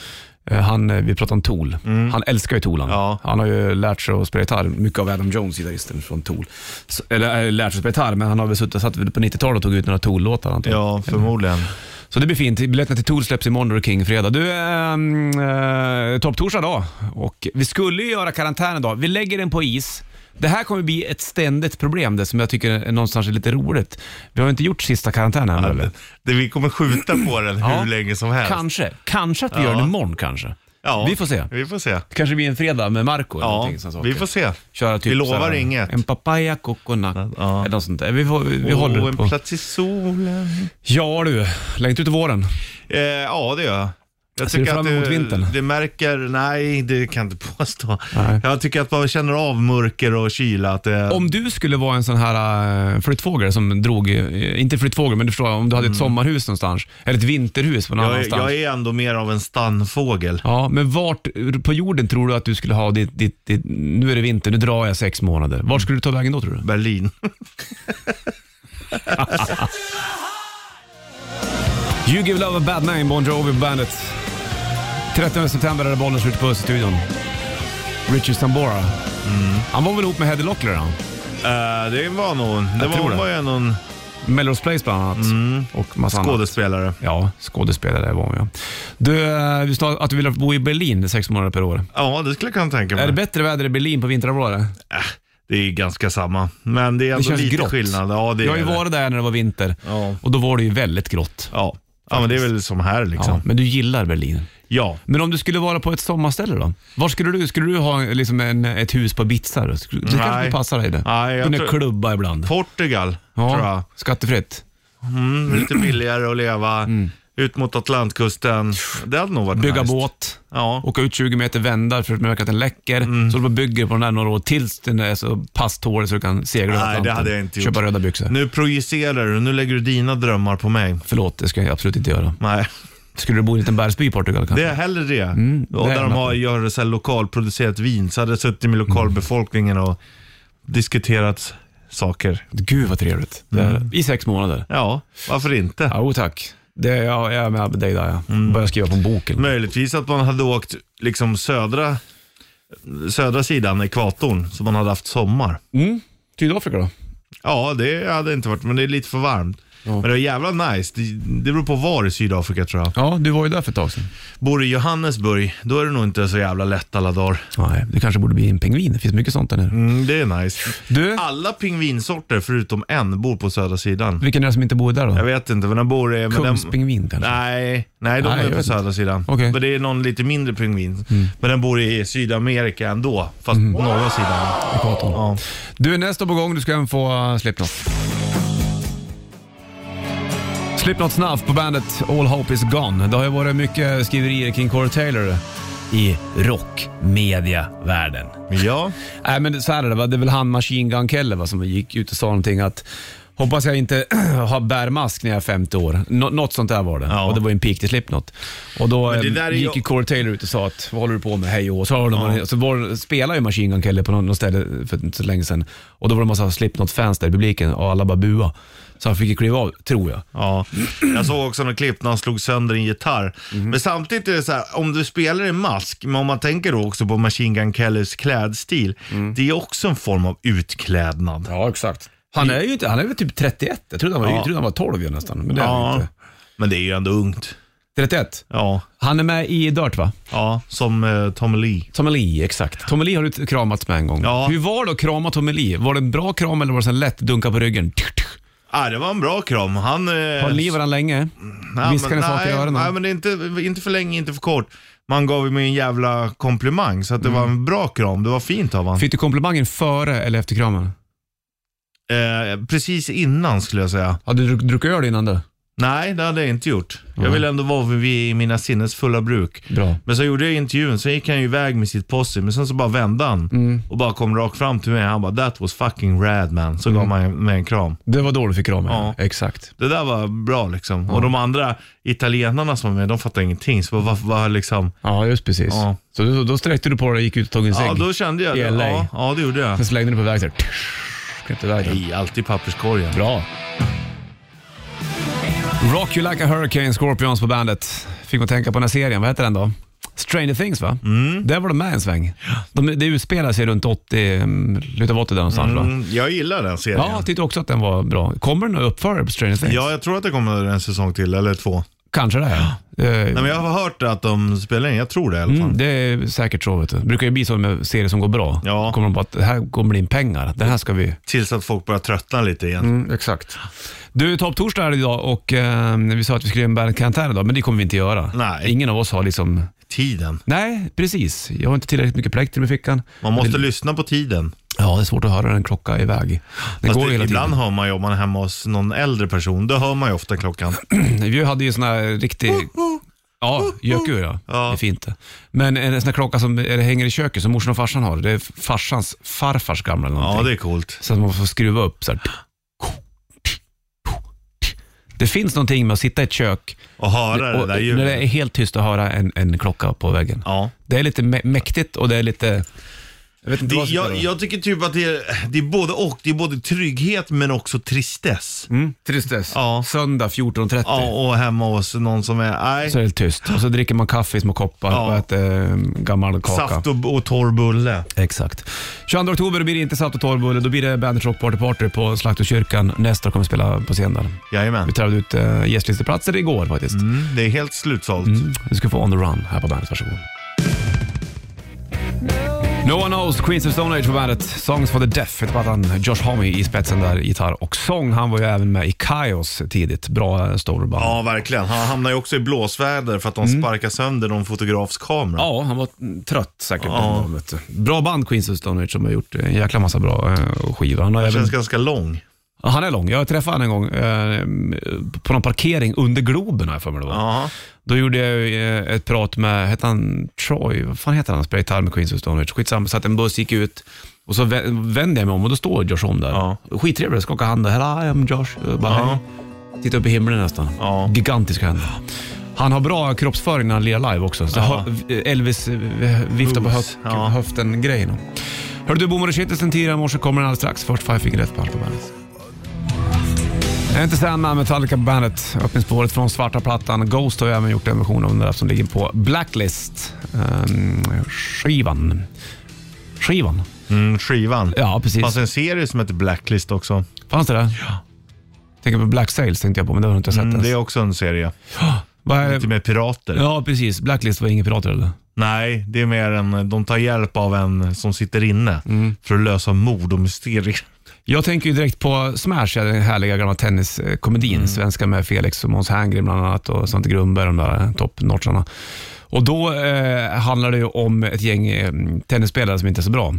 S2: eh, han, eh, vi pratade om Tool. Han älskar ju Tool han.
S3: Mm. Ja.
S2: Han har ju lärt sig att spela gitarr, mycket av Adam Jones gitarristen från Tool. Så, eller eh, lärt sig att spela gitarr, men han har väl suttit satt på 90-talet och tog ut några Tool-låtar antagligen.
S3: Ja, förmodligen.
S2: Så det blir fint. Biljetterna till Tool släpps imorgon och det är King fredag. Du, ehm, eh, topptorsdag idag och vi skulle ju göra karantän idag. Vi lägger den på is. Det här kommer bli ett ständigt problem, det som jag tycker är någonstans är lite roligt. Vi har ju inte gjort sista karantänen än, eller?
S3: Det, det, vi kommer skjuta på den hur
S2: Ja.
S3: länge som helst.
S2: Kanske. Kanske att vi
S3: Ja.
S2: gör den imorgon kanske.
S3: Ja.
S2: Vi får se.
S3: Vi får se.
S2: Det kanske blir en fredag med Marco eller
S3: Ja,
S2: någonting sånt saker.
S3: vi får se.
S2: Köra typ
S3: Vi lovar
S2: så här,
S3: inget.
S2: En papaya coconut
S3: Ja.
S2: eller något sånt där. Vi, får, vi vi
S3: Åh,
S2: håller
S3: en
S2: på.
S3: plats i solen.
S2: Ja du, längtar ut i våren.
S3: Eh, ja, det gör jag. Jag
S2: Ser du fram emot
S3: det,
S2: vintern?
S3: det märker, nej det kan jag inte påstå.
S2: Nej.
S3: Jag tycker att man känner av mörker och kyla. Att eh, det,
S2: Om du skulle vara en sån här eh, flyttfågel som drog, eh, inte flyttfågel, men du förstår, om du hade ett sommarhus någonstans, eller ett vinterhus på någon
S3: jag,
S2: annanstans.
S3: jag är ändå mer av en stannfågel.
S2: Ja, men vart på jorden tror du att du skulle ha ditt, ditt, ditt nu är det vinter, nu drar jag sex månader. Vart skulle du ta vägen då tror du?
S3: Berlin.
S2: You give love a bad name, Bon Jovi på bandet. 13 september är det bollen slut på Öststudion. Richard Sambora. Han var väl ihop med Heddy Locklear han?
S3: Eh, det var nog, det var,
S2: tror
S3: hon
S2: det.
S3: var ju ändå en
S2: Melrose Place bland annat. Och massa annat.
S3: skådespelare.
S2: Ja, skådespelare var hon ja. Du, eh, vi sa att du ville bo i Berlin sex månader per år.
S3: Ja, det skulle jag kunna tänka mig.
S2: Är det bättre väder i Berlin på vinterhalvåret?
S3: Det är ganska samma. Men det är ändå
S2: känns
S3: lite
S2: grått.
S3: skillnad. Ja, det
S2: Jag
S3: är
S2: har ju
S3: det.
S2: varit där när det var vinter
S3: Ja.
S2: och då var det ju väldigt grått.
S3: Ja. ja, men det är väl som här
S2: Ja,
S3: liksom.
S2: men du gillar Berlin.
S3: Ja.
S2: Men om du skulle vara på ett sommarställe då? Var skulle du, skulle du ha liksom en, ett hus på Ibiza? då? Skulle- Det
S3: Nej.
S2: kanske passar dig det?
S3: Nej, jag
S2: Kunna
S3: tror-
S2: klubba ibland.
S3: Portugal, tror jag.
S2: Ja, skattefritt.
S3: Mm, lite billigare att leva. Ut mot Atlantkusten. Det hade nog varit
S2: Mm. Bygga
S3: nice.
S2: båt,
S3: Ja.
S2: åka ut 20 meter, vända för att märka att den läcker.
S3: Mm.
S2: Så du bara bygger på den där några år tills den är så pass tålig så du kan segla över
S3: Nej, det
S2: Atlanten.
S3: hade jag inte gjort.
S2: Köpa röda byxor.
S3: Nu projicerar du. Nu lägger du dina drömmar på mig.
S2: Förlåt, det ska jag absolut inte göra.
S3: Nej,
S2: Skulle du bo i en liten bergsby i Portugal kanske?
S3: det är hellre det.
S2: Mm. det
S3: och
S2: är
S3: där de
S2: jag
S3: har, gör så här lokalproducerat vin. Så hade jag suttit med lokalbefolkningen och diskuterat saker.
S2: Gud vad trevligt. Det är-
S3: Mm.
S2: I sex månader.
S3: Ja, varför inte?
S2: Ja, jo, tack. Det, jag, jag är med dig där ja.
S3: Mm.
S2: Börjar skriva på en bok. eller-
S3: Möjligtvis att man hade åkt liksom södra, södra sidan ekvatorn, så man hade haft sommar.
S2: Mm. Sydafrika då?
S3: Ja, det hade inte varit, men det är lite för varmt. Men det var jävla nice. Det, det beror på var i Sydafrika tror jag.
S2: Ja, du var ju där för ett tag sedan.
S3: Bor du i Johannesburg, då är det nog inte så jävla lätt alla dagar.
S2: Nej, du kanske borde bli en pingvin. Det finns mycket sånt där nu.
S3: Mm, Ah. det är nice.
S2: Du,
S3: Alla pingvinsorter förutom en bor på södra sidan.
S2: vilken är det som inte bor där
S3: Jag
S2: då?
S3: vet inte, men den bor i... men den-
S2: Kungspingvin kanske?
S3: Nej, nej, de
S2: Nej, jag
S3: är på
S2: vet
S3: södra sidan.
S2: Okej.
S3: Men det är någon lite mindre pingvin. Men den bor i Sydamerika ändå, fast på norra sidan.
S2: Ekvatorn.
S3: Ja.
S2: Du, nästa på gång. Du ska även få uh, Slipknot. Slipknot Snuff på bandet All Hope Is Gone. Det har ju varit mycket skriverier kring Corey Taylor i rockmediavärlden.
S3: ja.
S2: Nej men så här är det, va? det är väl han Machine Gun Kelly va, som gick ut och sa någonting att Hoppas jag inte har bärmask när jag är 50 år. Nå- något sånt där var det.
S3: Ja.
S2: Och det var ju en pik till Slipknot. Och då
S3: Men det
S2: eh,
S3: där är ju-
S2: gick ju Corey Taylor ut och sa att vad håller du på med, hej och hå." så, har de, så var, spelade ju Machine Gun Kelly på något, något ställe för inte så länge sedan. Och då var det en massa Slipknot-fans där i publiken och alla bara bua. Så han fick ju kliva av, tror jag.
S3: Ja, jag såg också något klipp när han slog sönder en gitarr.
S2: Mhm.
S3: Men samtidigt är det så här, om du spelar i mask, men om man tänker då också på Machine Gun Kellys klädstil,
S2: Mm.
S3: det är också en form av utklädnad.
S2: Ja, exakt. Han är ju inte, han är väl typ 31? Jag trodde han var,
S3: Ja.
S2: jag trodde han var 12 ju nästan, men det är han ju
S3: Ja,
S2: inte.
S3: men det är ju ändå ungt.
S2: 31?
S3: Ja,
S2: Han är med i Dirt va?
S3: ja som eh, Tommy Lee.
S2: Tommy Lee, exakt. Tommy Lee har du kramats med en gång.
S3: Ja.
S2: Hur var det att krama Tommy Lee? Var det en bra kram eller var det en lätt dunka på ryggen?
S3: Ah, det var en bra kram. Han... Eh,
S2: Har ni varandra länge?
S3: nej,
S2: viskar
S3: men-
S2: ni saker i
S3: nej,
S2: öronen?
S3: Nej, men det är inte, inte för länge, inte för kort. Man gav ju mig en jävla komplimang, så att det
S2: Mm.
S3: var en bra kram. Det var fint av honom.
S2: Fick du komplimangen före eller efter kramen?
S3: Eh, precis innan skulle jag säga.
S2: Hade du druck- druckit öl innan du?
S3: Nej, det hade jag inte gjort. Jag vill ändå vara vid mina sinnes fulla bruk.
S2: Bra.
S3: Men så gjorde jag intervjun, sen gick han ju iväg med sitt posse, men sen så bara vände han och bara kom rakt fram till mig. Han bara “That was fucking rad man”, så gav han mig en kram.
S2: Det var då du fick kramen?
S3: Ja.
S2: Exakt.
S3: Det där var bra liksom. Och de andra italienarna som var med, de fattade ingenting. Så vad, vad liksom...
S2: Ja, just precis.
S3: Ja.
S2: Så då, då sträckte du på dig, gick ut och tog en cigg.
S3: Ja, då kände jag det.
S2: I LA.
S3: Ja, ja, det gjorde jag.
S2: Sen slängde du på väg där. Knäppte iväg den.
S3: Nej, alltid papperskorgen.
S2: Bra. Rock You Like A Hurricane, Scorpions på bandet. Fick man tänka på den här serien, vad heter den då? Stranger Things va?
S3: Mm.
S2: Där var de med en sväng. De, det utspelar sig runt 80, mm, slutet av 80 där någonstans va?
S3: Mm, jag gillar den serien.
S2: Ja, jag tyckte också att den var bra. Kommer den att uppföra på Stranger Things?
S3: Ja, jag tror att det kommer en säsong till, eller två.
S2: Kanske det. Här. Eh,
S3: Nej, men jag har hört att de spelar in, jag tror det i alla fall.
S2: mm, det är säkert så. Vet du. Det brukar ju bli så med serier som går bra.
S3: Ja.
S2: Kommer de på att det här kommer bli in pengar. Den här ska vi...
S3: Tills att folk börjar tröttna lite igen.
S2: Mm, exakt. Du, topptorsdag är det idag och eh, vi sa att vi skulle göra en bandcamp här idag, men det kommer vi inte göra.
S3: Nej.
S2: Ingen av oss har liksom...
S3: Tiden. Nej.
S2: Precis, jag har inte tillräckligt mycket plektrum i fickan.
S3: Man måste
S2: Det-
S3: lyssna på tiden.
S2: Ja, det är svårt att höra den klocka iväg. Den
S3: Fast
S2: går ju hela
S3: det, ibland
S2: tiden.
S3: hör man ju om man är hemma hos någon äldre person, då hör man ju ofta klockan.
S2: Vi hade ju sån här riktig... Ja, gökur ja.
S3: Ja.
S2: Det är fint det. Men en sån här klocka som är, hänger i köket som morsan och farsan har. Det är farsans farfars gamla eller
S3: Ja,
S2: någonting.
S3: det är coolt.
S2: Så att man får skruva upp så här. Det finns någonting med att sitta i ett kök
S3: Och höra det
S2: och,
S3: där
S2: när det är
S3: ljudet.
S2: helt tyst och höra en, en klocka på väggen.
S3: Ja.
S2: Det är lite mä- mäktigt och det är lite... Jag vet inte
S3: Det,
S2: vad som
S3: jag, jag tycker typ att det är, det är både och. Det är både trygghet men också tristess.
S2: Mm, tristess.
S3: Ja.
S2: Söndag 14.30.
S3: Ja, och hemma hos någon som är... Nej.
S2: Så är det tyst och så dricker man kaffe i små koppar
S3: Ja.
S2: och äter eh, gammal kaka.
S3: Saft och, och torr bulle.
S2: Exakt. 22 oktober blir det inte saft och torrbulle, då blir det Bandit Rock Party Party på Slakterkyrkan. Nästa år kommer vi spela på scen där.
S3: Jajamän.
S2: Vi tävlade ut äh, gästlisteplatser igår faktiskt.
S3: Mm, det är helt slutsålt.
S2: Du ska få On the Run här på bandet, varsågod. No One Knows, Queens of Stone Age på bandet. Songs for the Deaf heter plattan. Josh Homme i spetsen där, gitarr och sång. Han var ju även med i Kaios tidigt. Bra eh, storband.
S3: Ja, verkligen. Han hamnar ju också i blåsväder för att de sparkar sönder någon fotografs kamera.
S2: Mm. Ja, han var trött säkert.
S3: Ja.
S2: den dagen, vet du. Bra band Queens of Stone Age som har gjort en jäkla massa bra eh, skivor. Han, har
S3: Han
S2: även,
S3: känns ganska lång.
S2: Ja, han är lång. Jag träffade honom en gång eh, på någon parkering under Globen har jag för mig det var.
S3: Ja.
S2: Då gjorde jag ju, eh, ett prat med, hette han Troy? Vad fan heter han? Spelade gitarr med Queens of Stone Age. Skitsamma, så att en buss gick ut och så vä- vände jag mig om och då står Josh om där.
S3: Ja.
S2: Skittrevlig, skakade hand. Här I am Josh. Jag Bara,
S3: Ja.
S2: hej. Titta upp i himlen nästan.
S3: Ja.
S2: Gigantiska händer. Han har bra kroppsföring när han lirar live också. Så
S3: Ja.
S2: hö- Elvis eh, viftar på
S3: Moves.
S2: höft,
S3: Ja.
S2: höften-grejen. Hörru du, Bommar och Kittel sen tidigare i morse kommer den alldeles strax. Först Five Finger Death Punch på bandet. Jag är inte Sandman, Metallica på bandet. Öppningsspåret från svarta plattan. Ghost har ju även gjort en version av den där som ligger på Blacklist. Ehm, skivan. Skivan?
S3: Mm, skivan.
S2: Ja, precis.
S3: Mm, Det fanns en serie som heter Blacklist också.
S2: Fanns det det? Tänker på Black Sails tänkte jag på, men det har du inte sett
S3: Mm,
S2: ens.
S3: det är också en serie.
S2: Vad är-
S3: Lite mer pirater.
S2: Ja, precis. Blacklist var inga pirater eller?
S3: Nej, det är mer en, de tar hjälp av en som sitter inne
S2: Mm.
S3: för att lösa mord och mysterier.
S2: Jag tänker ju direkt på Smash, ja, den härliga gamla tenniskomedin. Svenska med Felix och Måns Herngren bland annat och Svante Grundberg, de där toppnotcharna. Och då eh, handlar det ju om ett gäng eh, tennisspelare som inte är så bra.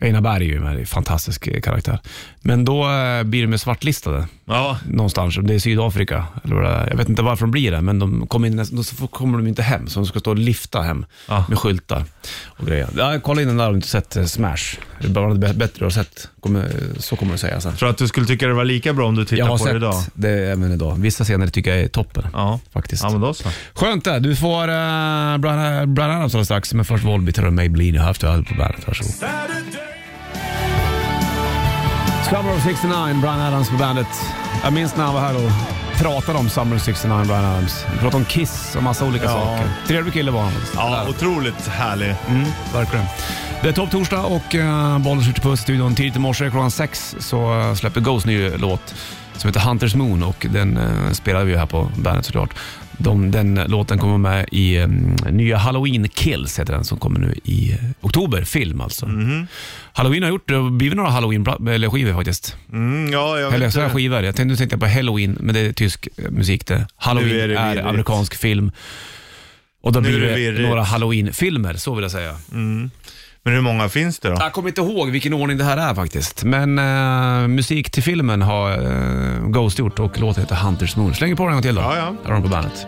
S2: Einar Berg är ju med, fantastisk eh, karaktär. Men då eh, blir de ju svartlistade
S3: Ja,
S2: någonstans, om det är Sydafrika. Eller vad det är. Jag vet inte varför de blir det, men de kommer, in, nästan- då så får- kommer de inte hem, så de ska stå och lyfta hem
S3: Ja.
S2: med skyltar och grejer. Ja, kolla in den där om du inte sett eh, Smash. Det är bland det bättre du har sett, kommer, så kommer du säga sen.
S3: tror att du skulle tycka det var lika bra om du
S2: Jag
S3: tittar
S2: har
S3: på det
S2: sett
S3: idag.
S2: det även idag. Vissa scener tycker jag är toppen.
S3: Ja.
S2: Faktiskt.
S3: ja, men då så.
S2: Skönt det. Du får uh, Brian, Brian Adams alldeles strax, men först Volbeat och Maybelline och After Hours på bandet. Varsågod. Summer of 69, Brian Adams på bandet. Jag minns när han var här och pratade om Summer of 69, Brian Adams. Vi pratade om Kiss och massa olika saker. Trevlig kille var han.
S3: Ja, otroligt härlig.
S2: Mm. Verkligen. Det är Topp Torsdag och uh, bollen skjuter på studion. Tidigt i morse klockan sex så eh, släpper Ghost ny låt som heter Hunters Moon och den eh, spelar vi ju här på bandet såklart. De, den låten kommer med i eh, nya Halloween Kills, heter den, som kommer nu i eh, oktober. Film alltså.
S3: Mhm.
S2: Halloween har gjort, det har blivit några Halloween-skivor faktiskt.
S3: Mm, ja, jag
S2: Eller
S3: vet
S2: så här
S3: det.
S2: skivor. Jag tänkte, nu tänkte jag på Halloween, men det är tysk eh, musik det. Halloween
S3: Nu är
S2: är,
S3: det virrigt.
S2: amerikansk film. Och då
S3: Nu är
S2: blir
S3: det
S2: det,
S3: virrigt.
S2: några Halloween-filmer, så vill jag säga.
S3: Men hur många finns det då?
S2: Jag kommer inte ihåg vilken ordning det här är faktiskt. Men eh, musik till filmen har eh, Ghost gjort och låten heter Hunters Moon. Slänger på den en gång till då.
S3: Ja, ja.
S2: Här har de på bandet.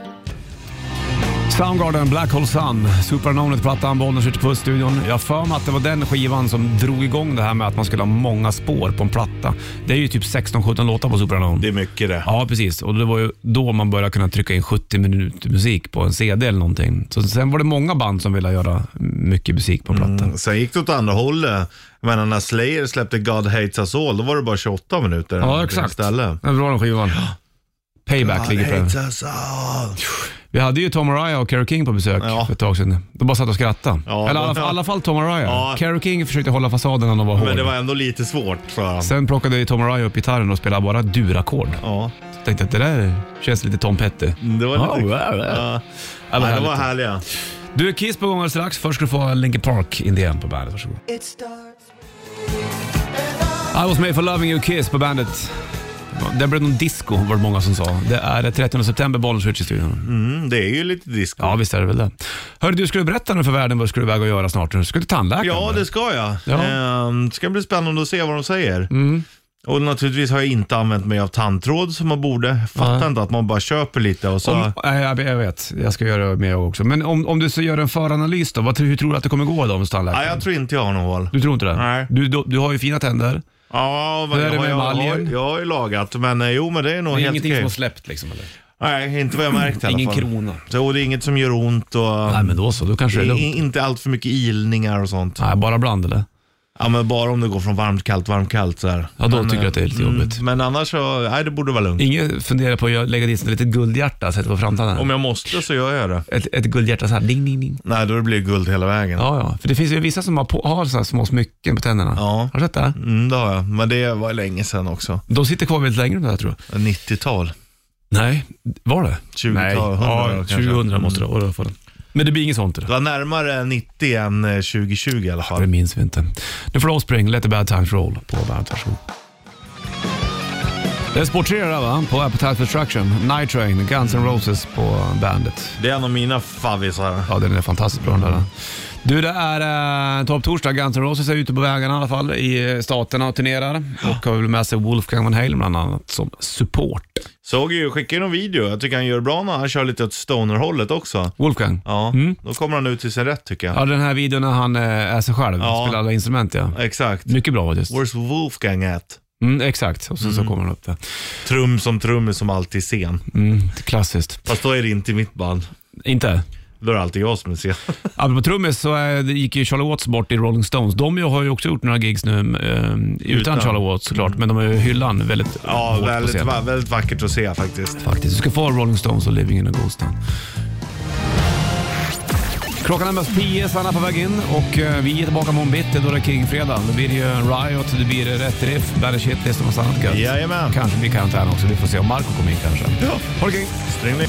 S2: Soundgarden, Black Hole Sun, Supernownet-plattan, Bollnäs ute på studion. Jag har för mig att det var den skivan som drog igång det här med att man skulle ha många spår på en platta. Det är ju typ 16-17 låtar på Supernown.
S3: Det är mycket det.
S2: Ja, precis. Och det var ju då man började kunna trycka in 70 minuter musik på en CD eller någonting. Så sen var det många band som ville göra mycket musik på en platta.
S3: Sen gick det åt andra hållet. Jag menar, när Slayer släppte God Hates Us All, då var det bara 28 minuter.
S2: Ja, exakt.
S3: Istället.
S2: Den bra den skivan. Payback
S3: God
S2: ligger på den.
S3: Hates Us All.
S2: Vi hade ju Tom Araya och Carole King på besök
S3: Ja.
S2: för ett tag sedan. De bara satt och skrattade.
S3: Ja,
S2: Eller i alla,
S3: de-
S2: i alla fall Tom Araya.
S3: Ja.
S2: Carole King försökte hålla fasaden när de var hård.
S3: Men det var ändå lite svårt, tror jag.
S2: Sen plockade ju Tom Araya upp gitarren och spelade bara durackord.
S3: Ja,
S2: Så Tänkte att det där känns lite Tom Petty.
S3: Mm, det var
S2: Ja,
S3: lite...
S2: ja, ja.
S3: Ja.
S2: Ja, men
S3: Ja, det var
S2: härligt.
S3: härliga.
S2: Du, Kiss på gång alldeles strax. Först ska du få Linkin Park, Indian på bandet. Varsågod. I was made for loving you, Kiss på bandet. Det blev någon disco var det många som sa. Det är det 30 september, Bollnäs Ritchie i studion.
S3: Mm, det är ju lite disco.
S2: Ja, visst är det väl det. Hörru, du skulle berätta nu för världen vad du skulle iväg och göra snart. Du skulle till tandläkaren.
S3: Ja, det ska jag.
S2: Ja. Mm.
S3: Ehm, Det ska bli spännande att se vad de säger. Och naturligtvis har jag inte använt mig av tandtråd som man borde. Jag Fattar
S2: Nej.
S3: inte att man bara köper lite och så.
S2: Om, nej, jag, jag vet. Jag ska göra mer jag också. Men om, om du så gör en föranalys då, vad, tror- hur tror du att det kommer gå då hos tandläkaren?
S3: Nej, jag tror inte jag har något hål.
S2: Du tror inte det?
S3: Nej.
S2: Du, du, du har ju fina tänder.
S3: Ja, vad
S2: Hur är det
S3: jag,
S2: med
S3: jag, har,
S2: emaljen?
S3: jag har ju lagat, men eh, jo men det är nog
S2: Det är
S3: helt
S2: ingenting som
S3: okej.
S2: har släppt liksom, eller?
S3: Nej, inte vad jag märkt i alla
S2: Ingen
S3: fall.
S2: krona.
S3: Så det är inget som gör ont och
S2: Nej, men då så. Då kanske det är
S3: i-
S2: lugnt.
S3: i- inte allt för mycket ilningar och sånt.
S2: Nej, bara bland eller?
S3: Ja, men bara om det går från varmt, kallt, varmt, kallt så här.
S2: Ja, då
S3: men,
S2: tycker jag
S3: eh,
S2: att det är lite jobbigt.
S3: Men annars så, nej det borde vara lugnt.
S2: Ingen funderar på att gö- lägga dit ett litet guldhjärta och sätta på framtanden?
S3: Om jag måste så gör jag det.
S2: Ett, ett guldhjärta så här, ding, ding, ding.
S3: Nej, då blir det guld hela vägen.
S2: Ja, ja. För det finns ju vissa som har, på, har så här små smycken på tänderna.
S3: Ja.
S2: Har du sett det?
S3: Mm, det har jag. Men det var länge sedan också.
S2: De sitter kvar väldigt länge de där tror jag.
S3: 90-tal.
S2: Nej, var det?
S3: 20-tal,
S2: Nej.
S3: 100
S2: ja,
S3: kanske. Mm.
S2: 2000 måste det vara. för den. Men det blir inget sånt
S3: Det
S2: idag.
S3: var närmare 90 än eh, 2020 i alla
S2: Det
S3: fall.
S2: minns vi inte. Nu får Offspring, Let the bad times roll på bandet. Varsågod. Det är Sport 3 där va? På Appetite for Destruction. Night Train, Guns N' Roses på bandet.
S3: Det är en av mina favvisar.
S2: Ja, den är fantastiskt bra den där. Du, det är eh, Topp Torsdag. Guns N' Roses är ute på vägarna i alla fall i eh, staterna och turnerar. Och har väl med sig Wolfgang Van Halen bland annat som support.
S3: Såg ju, skickade ju någon video. Jag tycker han gör bra när han kör lite åt stoner-hållet också.
S2: Wolfgang?
S3: Ja, då kommer han ut till sin rätt tycker jag.
S2: Mm. Ja, den här videon när han eh, är sig själv.
S3: Ja.
S2: Spelar alla instrument ja.
S3: Exakt.
S2: Mycket bra faktiskt.
S3: Where's Wolfgang at?
S2: Mm, exakt, och sen så kommer han upp där.
S3: Trum som trummis som alltid är sen.
S2: Mm, klassiskt.
S3: Fast då är det inte mitt band.
S2: Inte?
S3: Då är det alltid jag som är sen.
S2: Apropå trummis så eh, det gick ju Charlie Watts bort i Rolling Stones. De ju har ju också gjort några gigs nu eh, utan,
S3: Utan.
S2: Charlie Watts såklart, men de har ju hyllan väldigt
S3: Ja,
S2: hårt på
S3: väldigt,
S2: scenen.
S3: va- väldigt vackert att se faktiskt.
S2: Faktiskt. Du ska få Rolling Stones och Living in a Ghost Town. Klockan är mest 10, Sanna på väg in och eh, vi är tillbaka imorgon bitti då det är King-fredag. Då blir det ju Riot, det blir Rätt Riff, Bandit Shitlist och massa annat gött.
S3: Jajamän.
S2: Kanske blir karantän också, vi får se om Marco kommer in kanske.
S3: Ja.
S2: Ha det king!
S3: Sträng dig.